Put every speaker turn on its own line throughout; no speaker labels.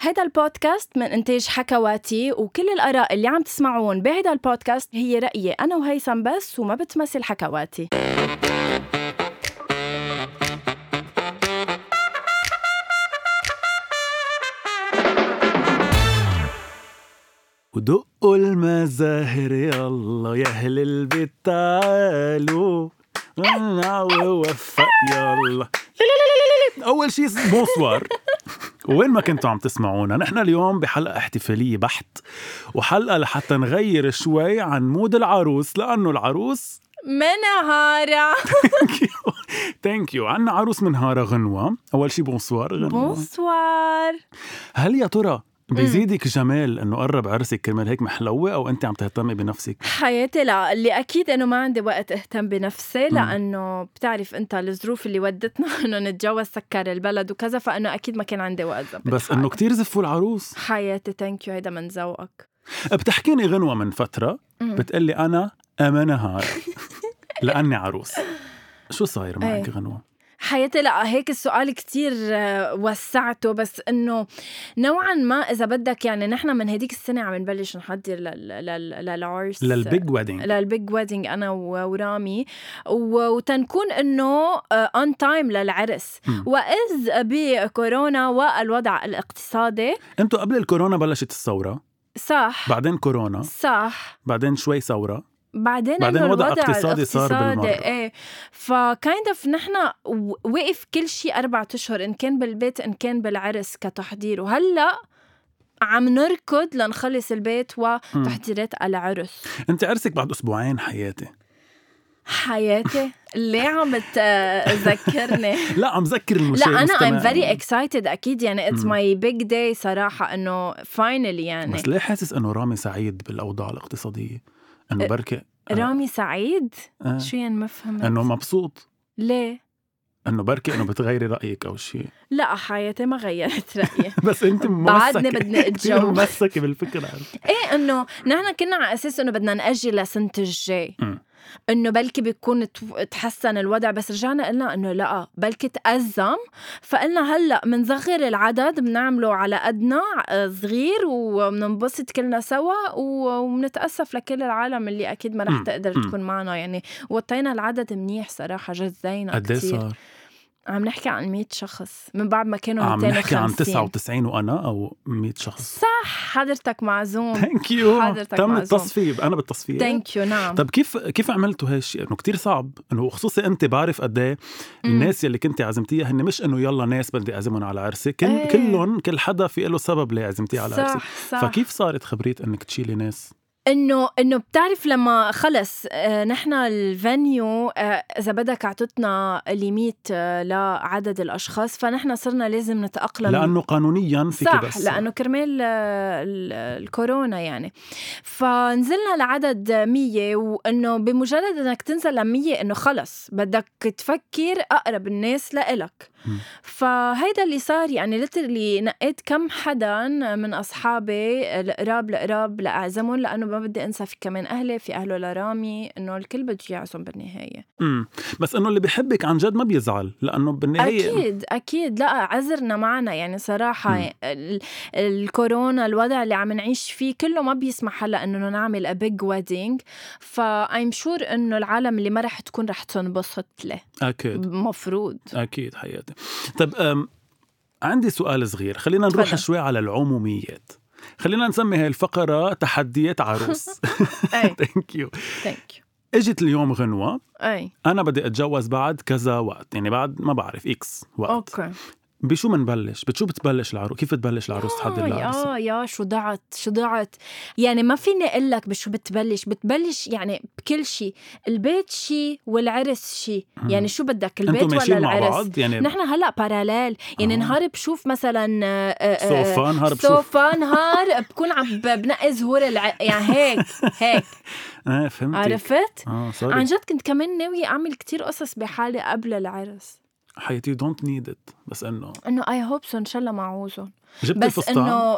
هيدا البودكاست من إنتاج حكواتي وكل الآراء اللي عم تسمعون بهيدا البودكاست هي رأيي أنا وهيثم بس وما بتمثل حكواتي
ودقوا المزاهر يلا يا اهل البيت تعالوا منع ووفق يلا اول شيء مو صور وين ما كنتوا عم تسمعونا نحن اليوم بحلقة احتفالية بحت وحلقة لحتى نغير شوي عن مود العروس لأنه العروس
منهارة
ثانك يو عنا عروس من هارا غنوة أول شي بونسوار غنوة
بونسوار
هل يا ترى بيزيدك جمال انه قرب عرسك كرمال هيك محلوه او انت عم تهتمي بنفسك
حياتي لا اللي اكيد انه ما عندي وقت اهتم بنفسي لانه بتعرف انت الظروف اللي ودتنا انه نتجوز سكر البلد وكذا فانه اكيد ما كان عندي وقت ظبط
بس
حالي.
انه كتير زفوا العروس
حياتي ثانك يو هيدا من ذوقك
بتحكيني غنوه من فتره
مم.
بتقلي انا امانه هار لاني عروس شو صاير معك
إيه.
غنوه
حياتي لا هيك السؤال كتير آه، وسعته بس انه نوعا ما اذا بدك يعني نحن من هديك السنه عم نبلش نحضر لل- لل- للعرس
للبيج ويدنج
للبيج ويدنج انا و- ورامي و- وتنكون انه اون تايم للعرس
مم.
واذ بكورونا والوضع الاقتصادي
انتوا قبل الكورونا بلشت الثوره
صح
بعدين كورونا
صح
بعدين شوي ثوره
بعدين
بعدين
إنه
وضع
الوضع
اقتصادي صار بالمرة.
ايه فكايند اوف نحن و- وقف كل شيء اربعة اشهر ان كان بالبيت ان كان بالعرس كتحضير وهلا عم نركض لنخلص البيت وتحضيرات العرس
انت عرسك بعد اسبوعين حياتي
حياتي ليه عم تذكرني
لا عم ذكر المشاهد
لا انا
المستمع.
I'm very excited اكيد يعني it's
مم.
my big day صراحه انه finally يعني
بس ليه حاسس انه رامي سعيد بالاوضاع الاقتصاديه انه بركي
رامي سعيد
آه.
إيه. شو يعني ما فهمت
انه مبسوط
ليه
انه بركي انه بتغيري رايك او شيء
لا حياتي ما غيرت رايي
بس انت ممسكه
بعدني بدنا
كتير
اتجوز
ممسكه بالفكره عرفت؟
ايه انه نحن كنا على اساس انه بدنا ناجل لسنه الجاي
مم.
انه بلكي بيكون تف- تحسن الوضع بس رجعنا قلنا انه لا بلكي تأزم فقلنا هلا بنصغر العدد بنعمله على قدنا آه، صغير وبننبسط كلنا سوا و- وبنتاسف لكل العالم اللي اكيد ما رح
مم.
تقدر
مم.
تكون معنا يعني وطينا العدد منيح صراحه جزينا
قد ايه
كثير
صار؟
عم نحكي عن 100 شخص من بعد ما كانوا
عم نحكي عن
250
99 وانا او 100 شخص
صح حضرتك معزوم
ثانك يو
حضرتك
تم
طيب، معزوم.
التصفيب انا بالتصفيب
ثانك يو نعم
طب طيب، كيف كيف عملتوا هالشيء؟ انه كتير صعب انه وخصوصي انت بعرف قد ايه الناس يلي كنت عزمتيها هن مش انه يلا ناس بدي اعزمهم على عرسي، كل
إيه.
كلهم كل حدا في له سبب ليه عزمتيه على عرسي
صح صح
فكيف صارت خبرية انك تشيلي ناس؟
انه انه بتعرف لما خلص آه، نحن الفانيو آه، اذا بدك اعطتنا ليميت آه، لعدد الاشخاص فنحن صرنا لازم نتاقلم
لانه قانونيا فيك
صح
بس
لانه كرمال آه، ال- الكورونا يعني فنزلنا لعدد 100 وانه بمجرد انك تنزل ل 100 انه خلص بدك تفكر اقرب الناس لإلك
مم.
فهيدا اللي صار يعني ليترلي نقيت كم حدا من اصحابي القراب القراب لاعزمهم لانه ما بدي انسى في كمان اهلي في اهله لرامي انه الكل بده يعزم بالنهايه
امم بس انه اللي بيحبك عن جد ما بيزعل لانه بالنهايه
اكيد اكيد لا عذرنا معنا يعني
مم.
صراحه ال- الكورونا الوضع اللي عم نعيش فيه كله ما بيسمح هلا انه نعمل ابيج ويدنج فايم شور انه العالم اللي ما رح تكون رح تنبسط له
اكيد
مفروض
اكيد حياتي طب أم عندي سؤال صغير خلينا نروح
تفضل.
شوي على العموميات خلينا نسمي هاي الفقره تحديات عروس
اي
ثانك يو
ثانك يو
اجت اليوم غنوه
اي
انا بدي اتجوز بعد كذا وقت يعني بعد ما بعرف اكس وقت
اوكي
بشو منبلش بتشو بتبلش العروس كيف بتبلش العروس تحضر العرس
اه يا شو ضعت شو ضعت يعني ما فيني اقول لك بشو بتبلش بتبلش يعني بكل شيء البيت شيء والعرس شيء
مم.
يعني شو بدك البيت
انتم
ولا
ماشيين مع
العرس
بعض يعني
نحن هلا باراليل يعني
آه.
آه. نهار بشوف مثلا آه، آه، آه،
سوفا نهار بشوف
سوفا نهار بكون عم ب- بنقي زهور الع... يعني هيك هيك
اه فهمتك
عرفت
اه سوري
عن جد كنت كمان ناوية أعمل كتير قصص بحالي قبل العرس
حياتي يو دونت نيد ات بس انه
انه اي هوب سو ان شاء الله معوزهم
جبت
بس
الفستان
انه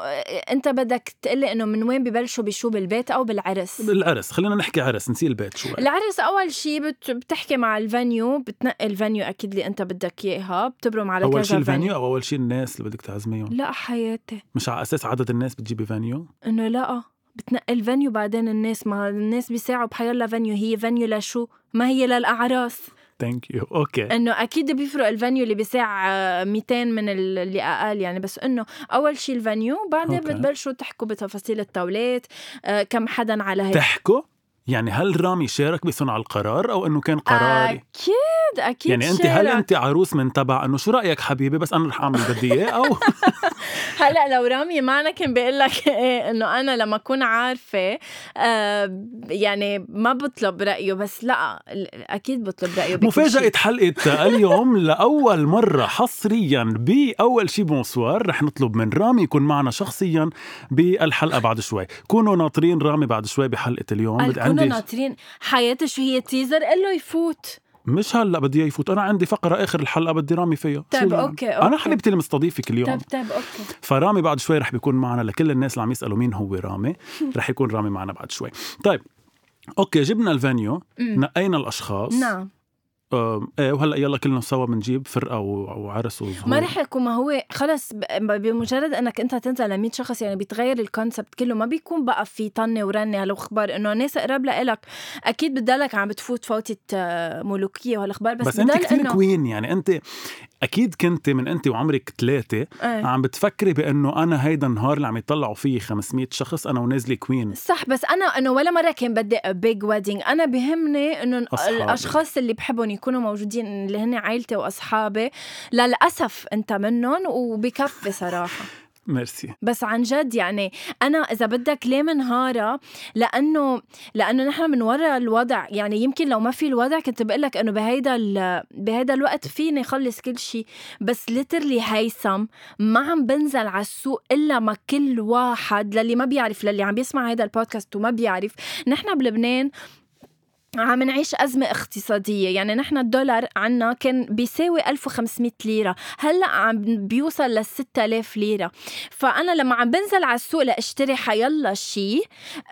انت بدك تقلي انه من وين ببلشوا بشو بالبيت او بالعرس
العرس خلينا نحكي عرس نسي البيت شوي
العرس اول شيء بت... بتحكي مع الفانيو بتنقي الفانيو اكيد اللي انت بدك اياها بتبرم على
اول
كذا
شيء الفانيو او اول شيء الناس اللي بدك تعزميهم
لا حياتي
مش على اساس عدد الناس بتجيبي فانيو
انه لا آه، بتنقي الفانيو بعدين الناس ما الناس بيساعوا بحيالله فانيو هي فانيو لشو ما هي للاعراس
ثانك يو اوكي
انه اكيد بيفرق الفانيو اللي بيساع آه، 200 من ال- اللي اقل يعني بس انه اول شيء الفانيو بعدين
أوكي.
بتبلشوا تحكوا بتفاصيل الطاولات آه، كم حدا على هيك
تحكوا يعني هل رامي شارك بصنع القرار او انه كان قراري
اكيد اكيد
يعني انت هل
شارك.
انت عروس من تبع انه شو رايك حبيبي بس انا رح اعمل بدي اياه او
هلا لو رامي معنا كان بقول لك ايه انه انا لما اكون عارفه آه يعني ما بطلب رايه بس لا ال- اكيد بطلب رايه بكل
مفاجاه
شيء.
حلقه اليوم لاول مره حصريا باول شي بونسوار رح نطلب من رامي يكون معنا شخصيا بالحلقه بعد شوي كونوا ناطرين رامي بعد شوي بحلقه اليوم
قال
بدي-
كنا ناطرين حياتي شو هي تيزر قال له يفوت
مش هلا بدي اياه يفوت انا عندي فقره اخر الحلقه بدي رامي فيها
طيب،
شو يعني؟
أوكي،
انا
أوكي. طيب،
حبيبتي اللي مستضيفك اليوم
طب طب اوكي
فرامي بعد شوي رح بيكون معنا لكل الناس اللي عم يسالوا مين هو رامي رح يكون رامي معنا بعد شوي طيب اوكي جبنا الفانيو
أمم.
نقينا الاشخاص
نعم
آم، ايه وهلا يلا كلنا سوا بنجيب فرقه و- وعرس وزهور
ما رح يكون ما هو خلص ب- ب- بمجرد انك انت تنزل ل 100 شخص يعني بيتغير الكونسبت كله ما بيكون بقى في طنه ورنه هالاخبار انه ناس قراب لإلك اكيد بتضلك عم بتفوت فوتة آه، ملوكيه وهالاخبار بس,
بس, انت
بضل
كثير
إنه-
كوين يعني انت اكيد كنت من انت وعمرك ثلاثه
إيه.
عم بتفكري بانه انا هيدا النهار اللي عم يطلعوا فيه 500 شخص انا ونازله كوين
صح بس انا انه ولا مره كان بدي بيج ويدنج انا بهمني انه
أصحابي.
الاشخاص اللي بحبهم يكونوا موجودين اللي هن عائلتي واصحابي للاسف انت منهم وبكفي صراحه
ميرسي
بس عن جد يعني انا اذا بدك ليه منهاره لانه لانه نحن من وراء الوضع يعني يمكن لو ما في الوضع كنت بقول لك انه بهيدا ال... بهيدا الوقت فيني خلص كل شيء بس ليترلي هيثم ما عم بنزل على السوق الا ما كل واحد للي ما بيعرف للي عم بيسمع هيدا البودكاست وما بيعرف نحن بلبنان عم نعيش أزمة اقتصادية يعني نحن الدولار عنا كان بيساوي 1500 ليرة هلأ عم بيوصل لل 6000 ليرة فأنا لما عم بنزل على السوق لأشتري حيلا شي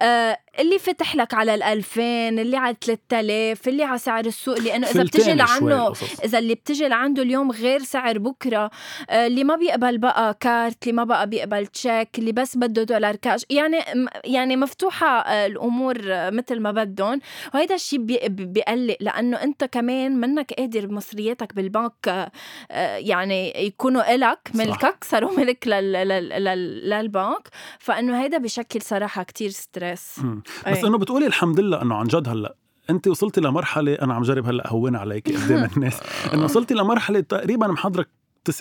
آه اللي فتح لك على ال 2000 اللي على 3000 اللي على سعر السوق لأنه إذا بتجي
فلتانة شوي
لعنه
القصص.
اذا اللي بتجي لعنده اليوم غير سعر بكره آه، اللي ما بيقبل بقى كارت اللي ما بقى بيقبل تشيك اللي بس بده دولار كاش يعني م- يعني مفتوحه آه، الامور آه، مثل ما بدهم وهيدا الشيء بي- بي- بيقلق لانه انت كمان منك قادر مصرياتك بالبنك آه، آه، يعني يكونوا إلك
صح.
ملكك صاروا ملك لل لل لل للبنك فانه هيدا بشكل صراحه كتير ستريس
مم. بس
إيه.
انه بتقولي الحمد لله انه عن جد هلا انت وصلتي لمرحله انا عم جرب هلا هون عليك قدام الناس انه وصلتي لمرحله تقريبا محضرك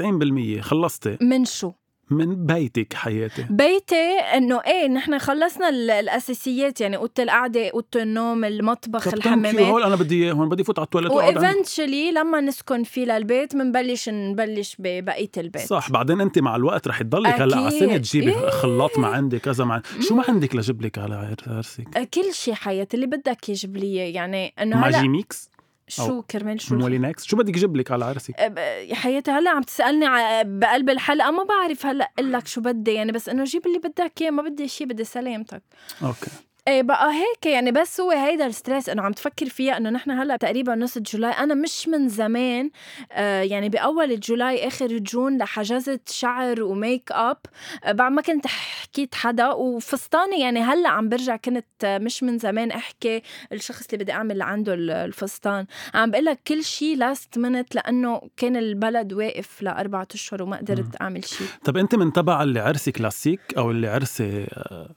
90% خلصتي
من شو؟
من بيتك حياتي
بيتي انه ايه نحن خلصنا ال- الاساسيات يعني اوضه القعده اوضه النوم المطبخ
طب thank you.
الحمامات
هول انا بدي هون بدي فوت على التواليت وأقعد عندي.
وايفنتشلي لما نسكن فيه للبيت منبلش نبلش ببقيه البيت
صح بعدين انت مع الوقت رح تضلك هلا على سنه
أكيد.
تجيبي
إيه.
خلاط ما عندي كذا مع شو ما عندك لجيب لك على عر- عرسك
أه، كل شيء حياتي اللي بدك يجيب لي يعني انه هلا
ماجي ميكس
شو كرمال شو
مولينكس شو بدك يجيب لك على عرسك
أب- حياتي هلا عم تسالني ع- بقلب الحلقه ما بعرف هلا اقول لك شو بدي يعني بس انه جيب اللي بدك اياه ما بدي شيء بدي سلامتك
اوكي
ايه بقى هيك يعني بس هو هيدا الستريس انه عم تفكر فيها انه نحن هلا تقريبا نص جولاي انا مش من زمان آه يعني باول جولاي اخر جون لحجزت شعر وميك اب آه بعد ما كنت حكيت حدا وفستاني يعني هلا عم برجع كنت آه، مش من زمان احكي الشخص اللي بدي اعمل عنده ال- الفستان عم بقول لك كل شيء لاست منت لانه كان البلد واقف لاربعة اشهر وما قدرت اعمل شيء
طب انت من تبع اللي عرسي كلاسيك او اللي عرسي آه،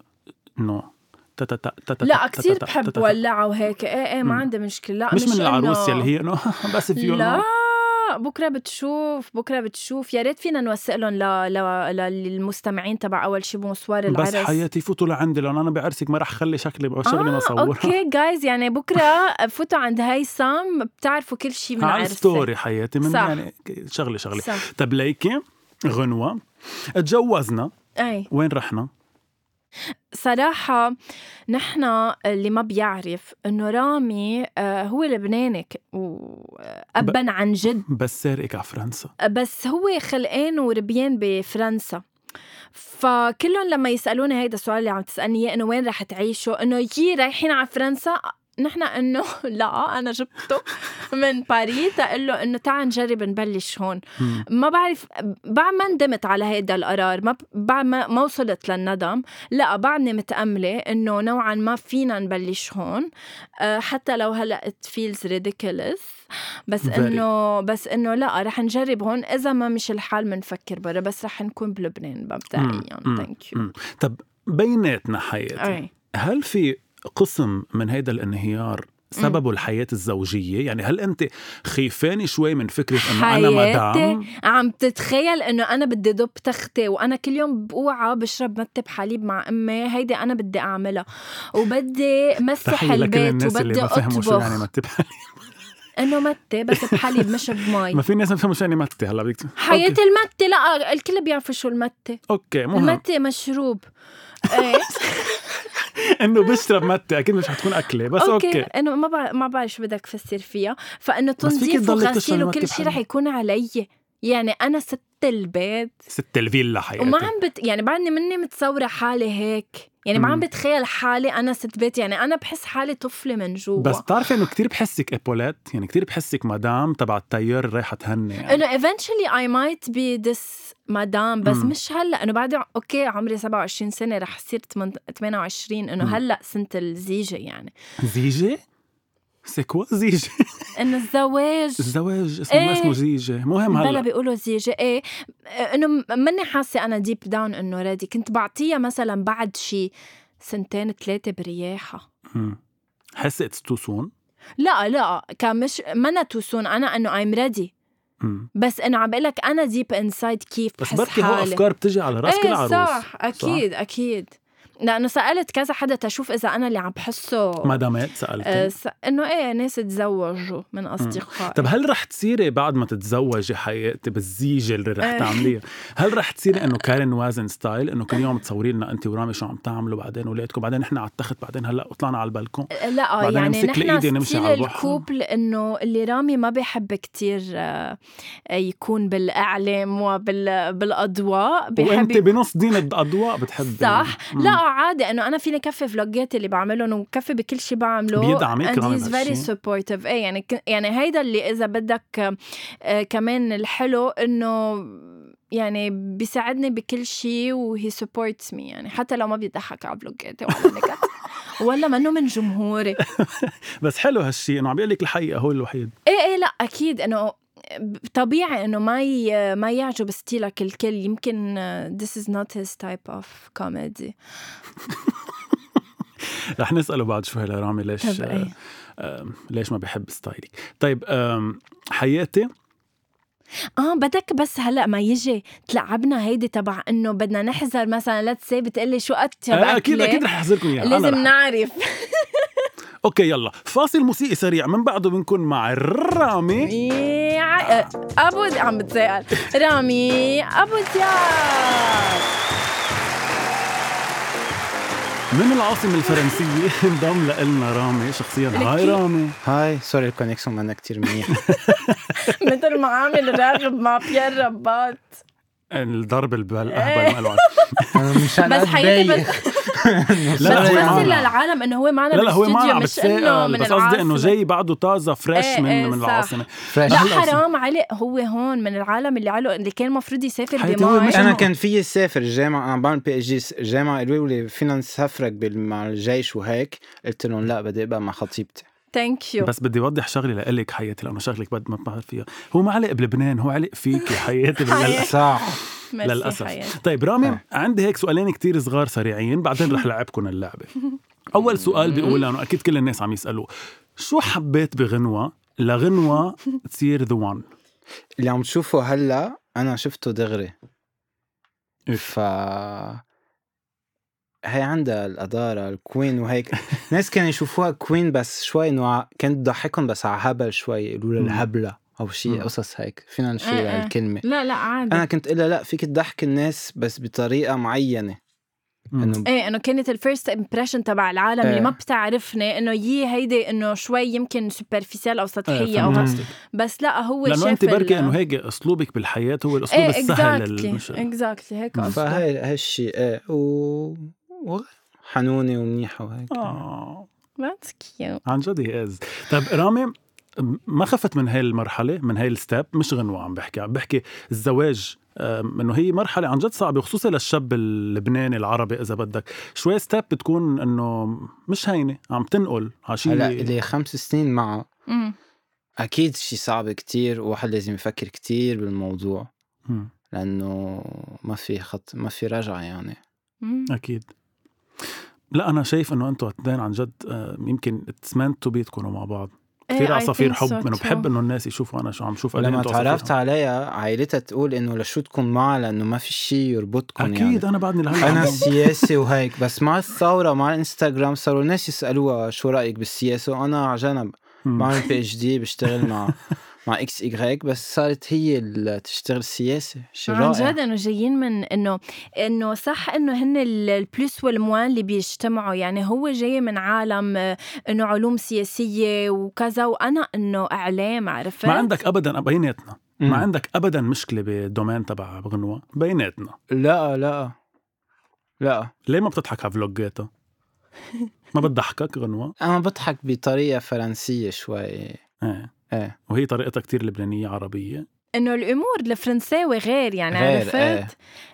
انه تا- تا- تا- تا- تا-
لا
تا-
كثير
تا- تا- تا-
بحب
تا-
ولعه وهيك ايه ايه ما
مم.
عندي مشكله لا
مش من
إنه-
العروس اللي هي انه بس فيو
لا
آه.
بكره بتشوف بكره بتشوف يا ريت فينا نوثق لهم ل... ل... للمستمعين تبع اول شي بونسوار العرس
بس حياتي فوتوا لعندي لان انا بعرسك ما رح خلي شكلي بقى شغلي ما
آه
صورها
اوكي جايز يعني بكره فوتوا عند هيثم بتعرفوا كل شي من
على
عرسي
ستوري حياتي من
صح.
يعني شغلي شغلي
صح
طب ليكي غنوه تجوزنا
اي
وين رحنا؟
صراحة نحن اللي ما بيعرف انه رامي آه، هو لبناني ك- وابا عن جد
بس سارقك على فرنسا
أه، بس هو خلقان وربيان بفرنسا فكلهم لما يسالوني هيدا السؤال اللي عم تسالني اياه انه وين رح تعيشوا انه يي رايحين على فرنسا نحن انه لا انا جبته من باريس تقول له انه تعال نجرب نبلش هون
مم.
ما بعرف بعد ما ندمت على هيدا القرار ما بعد ما, ما وصلت للندم لا بعدني متأملة انه نوعا ما فينا نبلش هون أه حتى لو هلا it feels ridiculous بس
Very.
انه بس انه لا رح نجرب هون اذا ما مش الحال بنفكر برا بس رح نكون بلبنان مبدئيا
مم.
ثانك يو
مم. طب بيناتنا حياتي
اي
هل في قسم من هيدا الانهيار سببه الحياة الزوجية يعني هل أنت خيفانة شوي من فكرة أنه أنا
حياتي
مدام
عم تتخيل انه انا بدي دب تختي وانا كل يوم بقوعة بشرب متة بحليب مع امي هيدي انا بدي اعملها وبدي مسح
تحية لكل
البيت
الناس اللي
وبدي
ما فهموا شو يعني
اطبخ
متى
انه متة بس بحليب مش
ما
بمي
في ناس ما بفهموا شو يعني متى هلا بدك
حياة
أوكي.
المتة لا الكل بيعرفوا شو المتة
اوكي مهم
المتة مشروب ايه
انه بشرب متى اكيد مش حتكون اكله بس
اوكي,
اوكي
انه ما بعرف ما بعرف شو بدك تفسر فيها فانه
فيك
تنظيف
تضلك تشربي
وغسيل
متة
وكل شيء رح
بحليب.
يكون علي يعني انا ست البيت
ست الفيلا حياتي
وما عم بت يعني بعدني مني متصوره حالي هيك يعني ما عم
مم.
بتخيل حالي انا ست بيت يعني انا بحس حالي طفله من جوا
بس بتعرفي انه كتير بحسك ابولات يعني كتير بحسك مدام تبع التيار رايحه تهني يعني.
انه eventually I might be this مدام بس
مم.
مش هلا انه بعد اوكي عمري 27 سنه رح صير 8 28 انه
مم.
هلا سنه الزيجه يعني
زيجه؟ سي كوا زيجه؟
انه الزواج
الزواج اسمه ما
إيه.
اسمه زيجه مهم
بلا
هلا
بيقولوا زيجه ايه انه م- مني حاسه انا ديب داون انه ريدي كنت بعطيها مثلا بعد شي سنتين ثلاثه برياحه
مم. حاسه اتس تو سون
لا لا كان مش منا توسون انا انه ايم ريدي بس انه عم بقول لك انا ديب انسايد كيف
بس
بحس
بركي هو
حالي
افكار بتجي على راس كل
ايه
عروس
صح اكيد صح؟ اكيد لانه سالت كذا حدا تشوف اذا انا اللي عم بحسه
مدامات سالتي
آه، س- انه ايه ناس تزوجوا من اصدقائي
طب هل رح تصيري بعد ما تتزوجي حياتي بالزيجه اللي رح
إيه.
تعمليها هل رح تصيري انه كارن وازن ستايل انه كل يوم تصوري لنا انت ورامي شو عم تعملوا بعدين اولادكم بعدين احنا على التخت بعدين هلا وطلعنا على البلكون
لا
بعدين
يعني
نمسك لإيدي
نحن
نمشي
ستيل
على البحر.
الكوبل انه اللي رامي ما بيحب كتير آه، يكون بالاعلام وبالاضواء بيحب
وانت بنص دين الاضواء بتحبي
صح
مم.
لا عادي انه انا فيني كفي فلوجات اللي بعملهم وكفي بكل شيء بعمله
بيدعمك رامي
and he's
بهالشي.
very supportive ايه يعني ك- يعني هيدا اللي اذا بدك آه، آه، كمان الحلو انه يعني بيساعدني بكل شيء وهي سبورتس مي يعني حتى لو ما بيضحك على فلوجاتي ولا نكت ولا منه من جمهوري
بس حلو هالشيء انه عم بقول لك الحقيقه هو الوحيد
ايه ايه لا اكيد انه طبيعي انه ما ي... ما يعجب ستيلك الكل يمكن آه، this is not his type of comedy
رح نساله بعد شوي لرامي ليش
طب إيه.
آم، ليش ما بحب ستايلك طيب آم، حياتي
اه بدك بس هلا ما يجي تلعبنا هيدي تبع انه بدنا نحذر مثلا لا تسي بتقلي شو قد
آه، اكيد اكيد رح آه، احذركم اياها أنا
لازم
رح-
نعرف
اوكي يلا فاصل موسيقي سريع من بعده بنكون مع رامي إيه؟
يا- آه، ابو د- عم بتسأل رامي ابو دياب
من العاصمة الفرنسية انضم لنا رامي شخصيا هاي
لكي.
رامي
هاي سوري الكونكشن منا كتير منيح
مثل ما عامل راغب مع بيير رباط
الضرب البل
إيه.
اهبل ما له
مش
بس حياتي بس
لا، لا،
بس
هو معنا.
بس للعالم انه هو معنا
لا لا هو ما
بالاستوديو،
عم
مش انه من
بتسائل بس قصدي انه
العاصمة.
جاي بعده طازه فريش
إيه،
من
إيه،
من
صح.
العاصمة
فريش
لا
هلا أصلاً.
حرام علق هو هون من العالم اللي علق اللي كان المفروض يسافر
حياتي هو مش
بماي
انا
إنه-
كان في اسافر الجامعه انا بعمل بي اتش دي الجامعه قالوا لي فينا نسافرك بال- مع الجيش وهيك قلت لهم لا بدي ابقى مع خطيبتي
ثانك يو
بس بدي اوضح شغله لإلك حياتي لانه شغلك بد ما بعرف فيها هو ما علق بلبنان هو علق فيك حياتي
حياتي.
للأسف
صح
ميرسي حياتي.
للاسف طيب رامي
إيه.
عندي هيك سؤالين كتير صغار سريعين بعدين رح لعبكم اللعبه اول سؤال بيقول لانه اكيد كل الناس عم يسالوه شو حبيت بغنوه لغنوه تصير ذا وان
اللي عم تشوفه هلا انا شفته دغري ف هي عندها القدارة الكوين وهيك ناس كانوا يشوفوها كوين بس شوي انه ع- كانت تضحكهم بس على هبل شوي يقولوا لها
مم.
الهبلة او شيء
مم.
قصص هيك فينا نشيل
إيه، إيه.
هالكلمة
لا لا عادي
انا كنت اقول لها لا فيك تضحك الناس بس بطريقه معينه انه
ايه انه كانت الفيرست امبريشن تبع العالم
إيه.
اللي ما بتعرفني انه يي هيدي انه شوي يمكن سوبرفيسيال او سطحيه او
إيه، فهمت.
هاد- بس لا هو
لانه
شاف
انت بركي
ال-
انه هيك اسلوبك بالحياه هو الاسلوب
ايه
السهل
اكزاكتلي
للمشاعر.
اكزاكتلي هيك قصدي
فهي هالشيء ايه و... و... حنونه ومنيحه وهيك
آه.
That's cute.
عن جد هي از طيب رامي ما خفت من هاي المرحله من هاي الستاب مش غنوه عم بحكي عم بحكي الزواج أم، انه هي مرحله عن جد صعبه خصوصا للشاب اللبناني العربي اذا بدك شوي ستاب بتكون انه مش هينه عم تنقل على شيء
هلا اللي خمس سنين معه
مم.
اكيد شيء صعب كتير وواحد لازم يفكر كتير بالموضوع
مم،
لانه ما في خط ما في رجعه يعني
مم.
اكيد لا انا شايف انه انتم اثنين عن جد آه، يمكن اتس مانت تو بي تكونوا مع بعض كثير
إيه، I
عصافير
think
حب
so
انه
too.
بحب انه الناس يشوفوا انا شو عم شوف قد إيه
لما
أنتوا عصافير
تعرفت
حب.
عليها عائلتها تقول انه لشو تكون معها لانه ما في شيء يربطكم يعني
اكيد انا بعدني لهلا
انا
عم-
سياسي وهيك بس مع الثوره مع الانستغرام صاروا الناس يسالوها شو رايك بالسياسه وانا على جنب
مم.
بعمل بي اتش دي بشتغل مع مع اكس ايغريك بس صارت هي اللي تشتغل سياسه شيء
عن
رائع
جد انه جايين من انه انه صح انه هن ال- البلس والموان اللي بيجتمعوا يعني هو جاي من عالم آه، انه علوم سياسيه وكذا وانا انه اعلام عرفت؟
ما عندك ابدا بيناتنا
مم.
ما عندك ابدا مشكله بالدومين تبع غنوه بيناتنا
لا لا لا
ليه ما بتضحك على فلوجاتها ما بتضحكك غنوه
انا بضحك بطريقه فرنسيه شوي
ايه
إيه.
ايه
وهي طريقتها كتير لبنانيه عربيه
انه الامور الفرنساوي غير يعني
غير،
عرفت؟
إيه.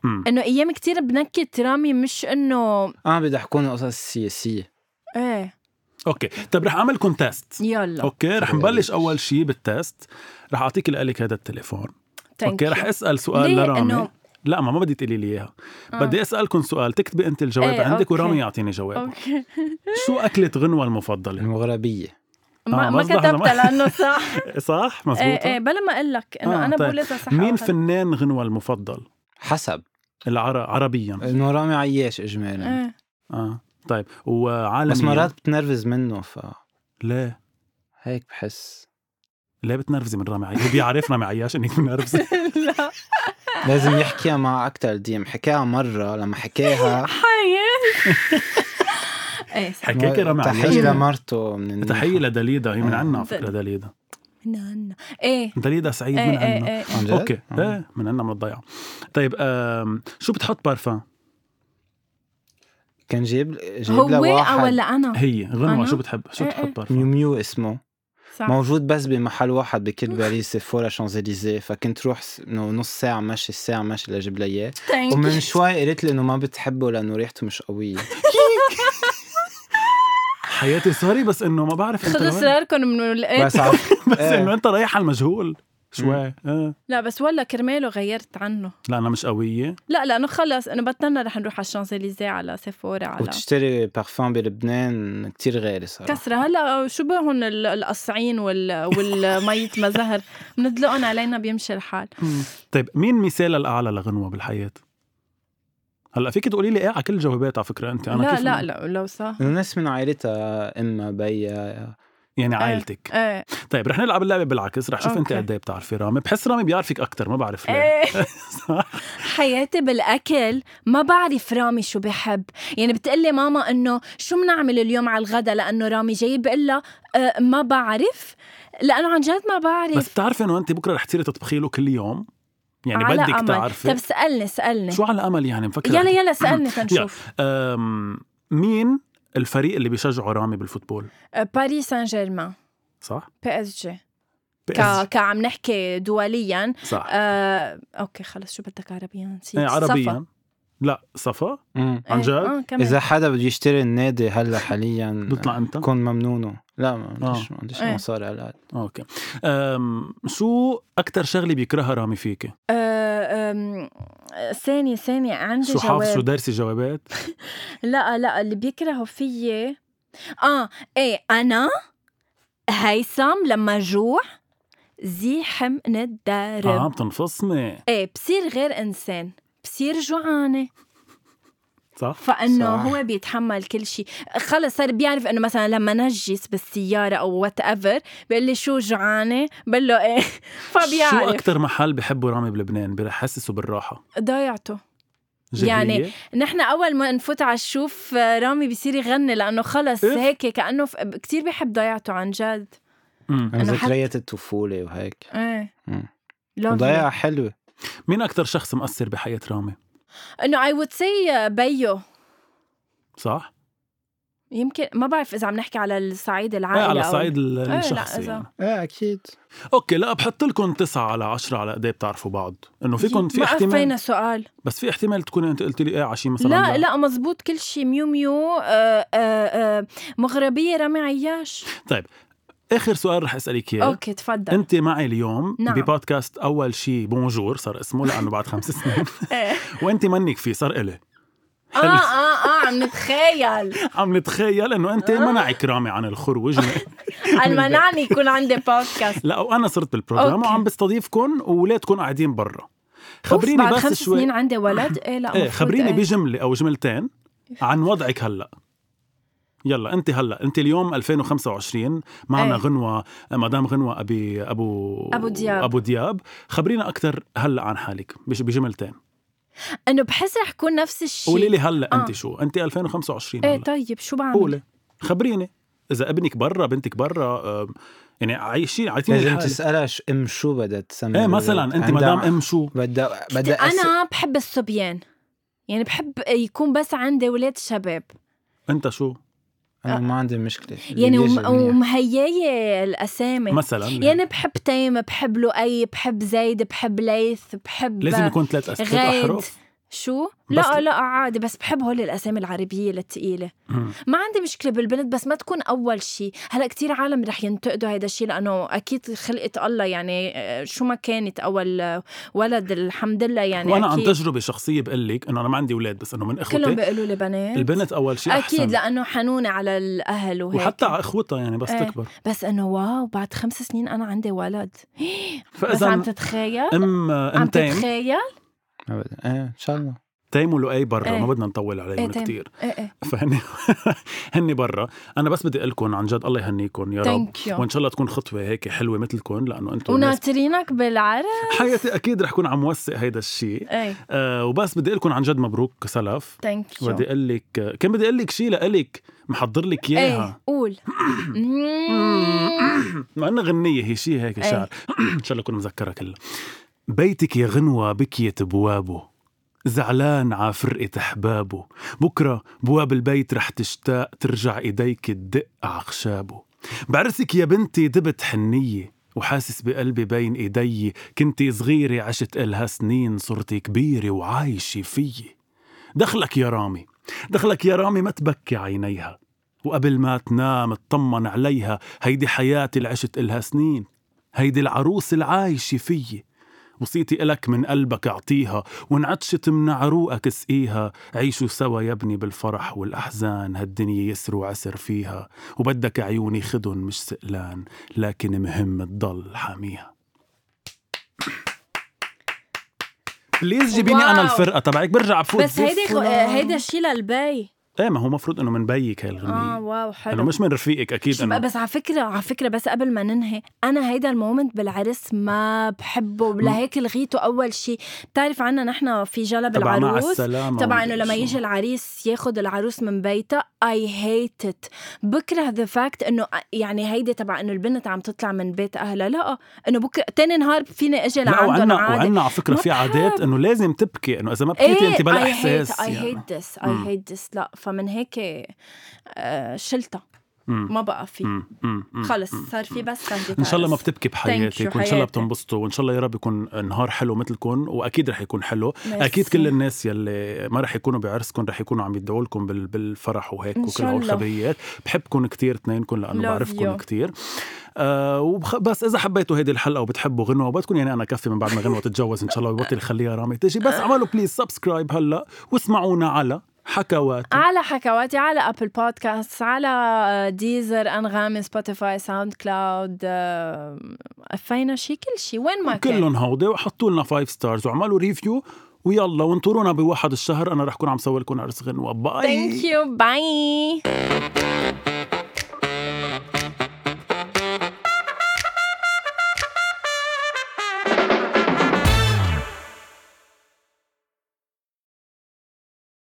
مم.
انه ايام كتير بنكت رامي مش انه
انا بيضحكوني قصص سياسيه
ايه
اوكي طب طيب رح اعمل كونتست
يلا
اوكي رح نبلش اول شيء بالتست رح اعطيك لك هذا التليفون
thank
اوكي
you.
رح اسال سؤال
ليه؟
لرامي
إنه- آه.
لا ما ما بدي تقولي لي اياها بدي اسالكم سؤال تكتبي انت الجواب
إيه،
عندك
أوكي.
ورامي يعطيني جواب
اوكي
شو اكله غنوه المفضله
المغربيه
ما,
آه،
ما
بس لحظة، ما-
كتبتها لانه صح
صح
ايه
مزبوط
ايه بلا ما اقول لك انه
آه،
انا
طيب.
بقول اذا صح
مين
أو غلط.
فنان غنوه المفضل
حسب
العر... عربيا
انه رامي عياش اجمالا
إيه.
اه طيب وعالميا
بس مرات بتنرفز منه فهيك
ليه
بحس
ليه بتنرفزي من رامي عياش هو بيعرف رامي عياش انك منرفزه
لا
لازم يحكيها مع اكتر ديم حكاها مره لما حكاها
حياتي ايه صح
حكيك رامي
تحيه
عياش
لمرته من النيل.
تحيه لدليدا هي من
آه.
عنا على فكره دليدا
من عنا ايه
دليدا سعيد من
ايه ايه
عنا
ايه
عن جد؟
اوكي
آه.
ايه من عنا من الضيعه طيب آم، شو بتحط بارفان
كان جايب جايب لها
هو
واحد
او ولا انا
هي غنوه
أنا؟
شو بتحب شو
إيه،
بتحط
إيه.
بارفان
ميو ميو اسمه
صح
موجود بس بمحل واحد بكل باريس سيفورا شانزليزيه فكنت روح س- إنه نص ساعه مشي ساعه مشي لاجيب لها اياه
Thank
ومن
you.
شوي قالت لي انه ما بتحبه لانه ريحته مش قويه
حياتي سوري بس انه ما بعرف انت
خذوا
وين.
سراركم من القيت
بس عف...
بس
إيه.
انه انت رايح على المجهول شوي إيه.
لا بس والله كرماله غيرت عنه
لا انا مش قويه
لا لانه خلص انه بطلنا رح نروح على الشانزليزيه على سيفورا على
وتشتري بارفان بلبنان كتير غالي صراحه
كسرة هلا آه، شو بهم ال- القصعين وال والمية مزهر بندلقهم علينا بيمشي الحال
طيب مين مثالها الاعلى لغنوه بالحياه هلا فيك تقولي لي ايه على كل الجوابات على فكره انت انا
لا
كيف
لا لا لو صح
إنه ناس من عائلتها امها بيا
يعني عائلتك
ايه
طيب رح نلعب اللعبه بالعكس رح شوف انت
أوكي.
قد ايه بتعرفي رامي بحس رامي بيعرفك اكثر ما بعرف ليه
ايه
صح
حياتي بالاكل ما بعرف رامي شو بحب يعني بتقلي ماما انه شو بنعمل اليوم على الغدا لانه رامي جاي بقلها أه ما بعرف لانه عن جد ما
بس
بعرف
بتعرفي انه انت بكره رح تصيري تطبخي له كل يوم يعني
على
بدك
أمل. طب
تعرفي
سالني سالني
شو على امل يعني مفكر
يلا يلا سالني تنشوف
أم، مين الفريق اللي بيشجعه رامي بالفوتبول
أه، باريس سان جيرمان
صح
بي اس جي
بي إس
ك كعم نحكي دوليا
جي. صح
آه، اوكي خلص شو بدك عربيا نسيت
إيه،
صفا.
عربيا لا صفا
مم.
عن
إيه،
جد؟
آه كمان.
اذا حدا بده يشتري النادي هلا حاليا
بتطلع انت
كون ممنونه لا ما عنديش
آه.
ما عنديش
إيه.
مصاري على الأقل.
اوكي أم شو اكثر شغله بيكرهها رامي فيكي
آه، آم، ثانية ثانية عندي
شو حافظ شو
جواب
دارسي جوابات
لا لا اللي بيكرهوا فيي اه ايه انا هيثم لما جوع زي حمن الدارب
آه،
آه.
عم تنفصني
ايه بصير غير انسان بصير جوعانه
صح
فانه
صح.
هو بيتحمل كل شيء خلص صار بيعرف انه مثلا لما نجس بالسياره او وات ايفر بيقول لي شو جوعانه بقول له ايه فبيعرف
شو اكثر محل بحبه رامي بلبنان بحسسه بالراحه
ضيعته
جدية؟
يعني نحن اول ما نفوت على الشوف آه، رامي بصير يغني لانه خلص
إف.
هيك كانه ف... كثير بحب ضيعته عن جد
أمم.
أنا حت-
ذكريات الطفوله وهيك
ايه
مم.
lovely.
ضيعة حلوه
مين اكثر شخص مؤثر بحياه رامي
انه اي وود سي آه، بيو
صح؟
يمكن ما بعرف اذا عم نحكي على الصعيد
آه
العائله
على
أو- إيه،
صعيد ال-
لا،
الشخصي
إذا-
يعني.
ايه اكيد
اوكي لا بحط لكم تسعة على عشرة على قد إيه بتعرفوا بعض انه فيكم في
ما
احتمال
قفينا سؤال
بس في احتمال تكون انت قلت لي ايه على شيء مثلا
لا لا مزبوط كل شيء ميو ميو آه، آه، آه، مغربيه رامي عياش
اخر سؤال رح اسالك اياه
اوكي تفضل
انت معي اليوم
طيب. نعم.
ببودكاست اول شيء بونجور صار اسمه لانه بعد خمس سنين
إيه.
وانت منك فيه صار الي
اه اه اه عم نتخيل
عم نتخيل انه انت
آه.
منعك رامي عن الخروج
عن منعني يكون عندي بودكاست
لا وانا صرت بالبروجرام
أوكي.
وعم بستضيفكم وولادكم قاعدين برا
خبريني
خبريني
بعد خمس
بس
سنين
شوي
عندي ولد ايه لا
ايه
مفروض
خبريني
إيه.
بجمله او جملتين عن وضعك هلا يلا انت هلا انت اليوم 2025 معنا
إيه.
غنوه مدام غنوه ابي ابو
أبو دياب.
ابو دياب خبرينا اكثر هلا عن حالك بج- بجملتين
انه بحس رح يكون نفس الشيء
قولي لي هلا
آه.
انت شو انت 2025
ايه
هلا
طيب شو بعمل؟
قولي خبريني اذا ابنك برا بنتك برا آه، يعني عايشين عايشين
لازم
الحال
تسالها ش- ام شو بدها تسمي
ايه مثلا انت
عندها-
مدام ام شو
بدها
كت-
بدها أس-
انا بحب الصبيان يعني بحب يكون بس عندي ولاد شباب
انت شو
انا ما عندي مشكله
يعني
بيجي
وم-
منيح.
ومهياي الاسامي
مثلا
يعني بحب تيم بحب لؤي بحب زيد بحب ليث بحب
لازم يكون ثلاث أس- ثلاث
غيد.
احرف
شو؟
بس-
لا لا عادي بس بحب هول الاسامي العربيه الثقيله
مم.
ما عندي مشكله بالبنت بس ما تكون اول شيء هلا كتير عالم رح ينتقدوا هيدا الشيء لانه اكيد خلقه الله يعني آه، شو ما كانت اول آه، ولد الحمد لله يعني
وانا عن
اكيد
تجربه شخصيه بقول لك انه انا ما عندي اولاد بس انه من
كلهم
اخوتي
بيقولوا لي بنات
البنت اول شيء
اكيد
احسن
لانه حنونه على الاهل وهيك
وحتى على اخوتها يعني بس
إيه.
تكبر
بس انه واو بعد خمس سنين انا عندي ولد بس عم
فاذا
تتخيل
ام
عم
ام تيم
تتخيل
ما بدها. ايه ان شاء الله
تيم ولؤي برا
إيه.
ما بدنا نطول
إيه،
عليهم
تيم.
كثير
ايه ايه
فهن هن برا انا بس بدي اقول لكم عن جد الله يهنيكم يا رب
ثانك يو
وان شاء الله تكون خطوه هيك حلوه مثلكم لانه انتم ناس-
وناطرينك بالعرق
حياتي اكيد رح كون عم وثق هيدا الشيء
ايه
أه وبس بدي اقول لكم عن جد مبروك سلف
ثانك يو
بدي اقول لك كان بدي اقول لك شيء لإلك محضر لك اياها
ايه قول مم.
مع انها غنيه هي شيء هيك
إيه.
شعر ان شاء الله اكون مذكرها كلها بيتك يا غنوه بكيت بوابه زعلان ع فرقة أحبابه بكرة بواب البيت رح تشتاق ترجع إيديك تدق ع خشابه بعرسك يا بنتي دبت حنية وحاسس بقلبي بين إيدي كنتي صغيرة عشت إلها سنين صرتي كبيرة وعايشة فيي دخلك يا رامي دخلك يا رامي ما تبكي عينيها وقبل ما تنام اطمن عليها هيدي حياتي اللي عشت إلها سنين هيدي العروس العايشة فيي وصيتي إلك من قلبك اعطيها وانعطشت من عروقك سقيها عيشوا سوا يا ابني بالفرح والأحزان هالدنيا يسر وعسر فيها وبدك عيوني خدن مش سقلان لكن مهم تضل حاميها بليز جيبيني انا
واو.
الفرقه تبعك برجع بفوت
بس هيدي خ-
فلان.
هيدا الشيء للبي
ايه ما هو مفروض انه من بيك هاي
اه
الغنية
واو
انه
حلو
مش من رفيقك اكيد
شو بقى-
انه
بس على فكرة على فكرة بس قبل ما ننهي أنا هيدا المومنت بالعرس ما بحبه لهيك لغيته أول شيء بتعرف عنا نحن في جلب
تبع مع
العروس
السلامه
طبعا
ولا
انه لما
شو.
يجي العريس ياخذ العروس من بيتها اي هيت ات بكره ذا فاكت انه يعني هيدي تبع انه البنت عم تطلع من بيت اهلها لا انه بكره تاني نهار فيني اجي
لا
لعندهم
وعنا
عادي
وعنا على فكره
ما
في عادات انه لازم تبكي انه اذا ما بكيتي
إيه،
انت بلا احساس
اي
يعني.
هيت ذس اي
مم.
هيت ذس لا فمن هيك آه، شلتها
مم.
ما بقى في
مم. مم. مم.
خلص
مم.
صار في بس تهديد
ان شاء الله ما
عرس.
بتبكي
Thank
بحياتك
you،
وان شاء الله
حياتي.
بتنبسطوا وان شاء الله يا رب يكون نهار حلو مثلكم واكيد رح يكون حلو
ميرسي.
اكيد كل الناس يلي ما رح يكونوا بعرسكم رح يكونوا عم يدعوا لكم بال- بالفرح وهيك
إن
وكل
شاء
هول
الله.
الخبريات بحبكم كثير اثنينكم لانه
Love you.
بعرفكم كثير آه وبخ... بس اذا حبيتوا هيدي الحلقه وبتحبوا غنوه وبدكم يعني انا كفي من بعد ما غنوه تتجوز ان شاء الله وبطل خليها رامي تجي بس اعملوا بليز سبسكرايب هلا واسمعونا على حكوات
على حكواتي على ابل بودكاست على آه، ديزر انغامي سبوتيفاي ساوند كلاود آه، فينا شي كل شي وين ما كان
كلهم هودي وحطوا لنا 5 ستارز وعملوا ريفيو ويلا وانطرونا بواحد الشهر انا رح كون عم سوي لكم عرس غنوه باي
ثانك يو باي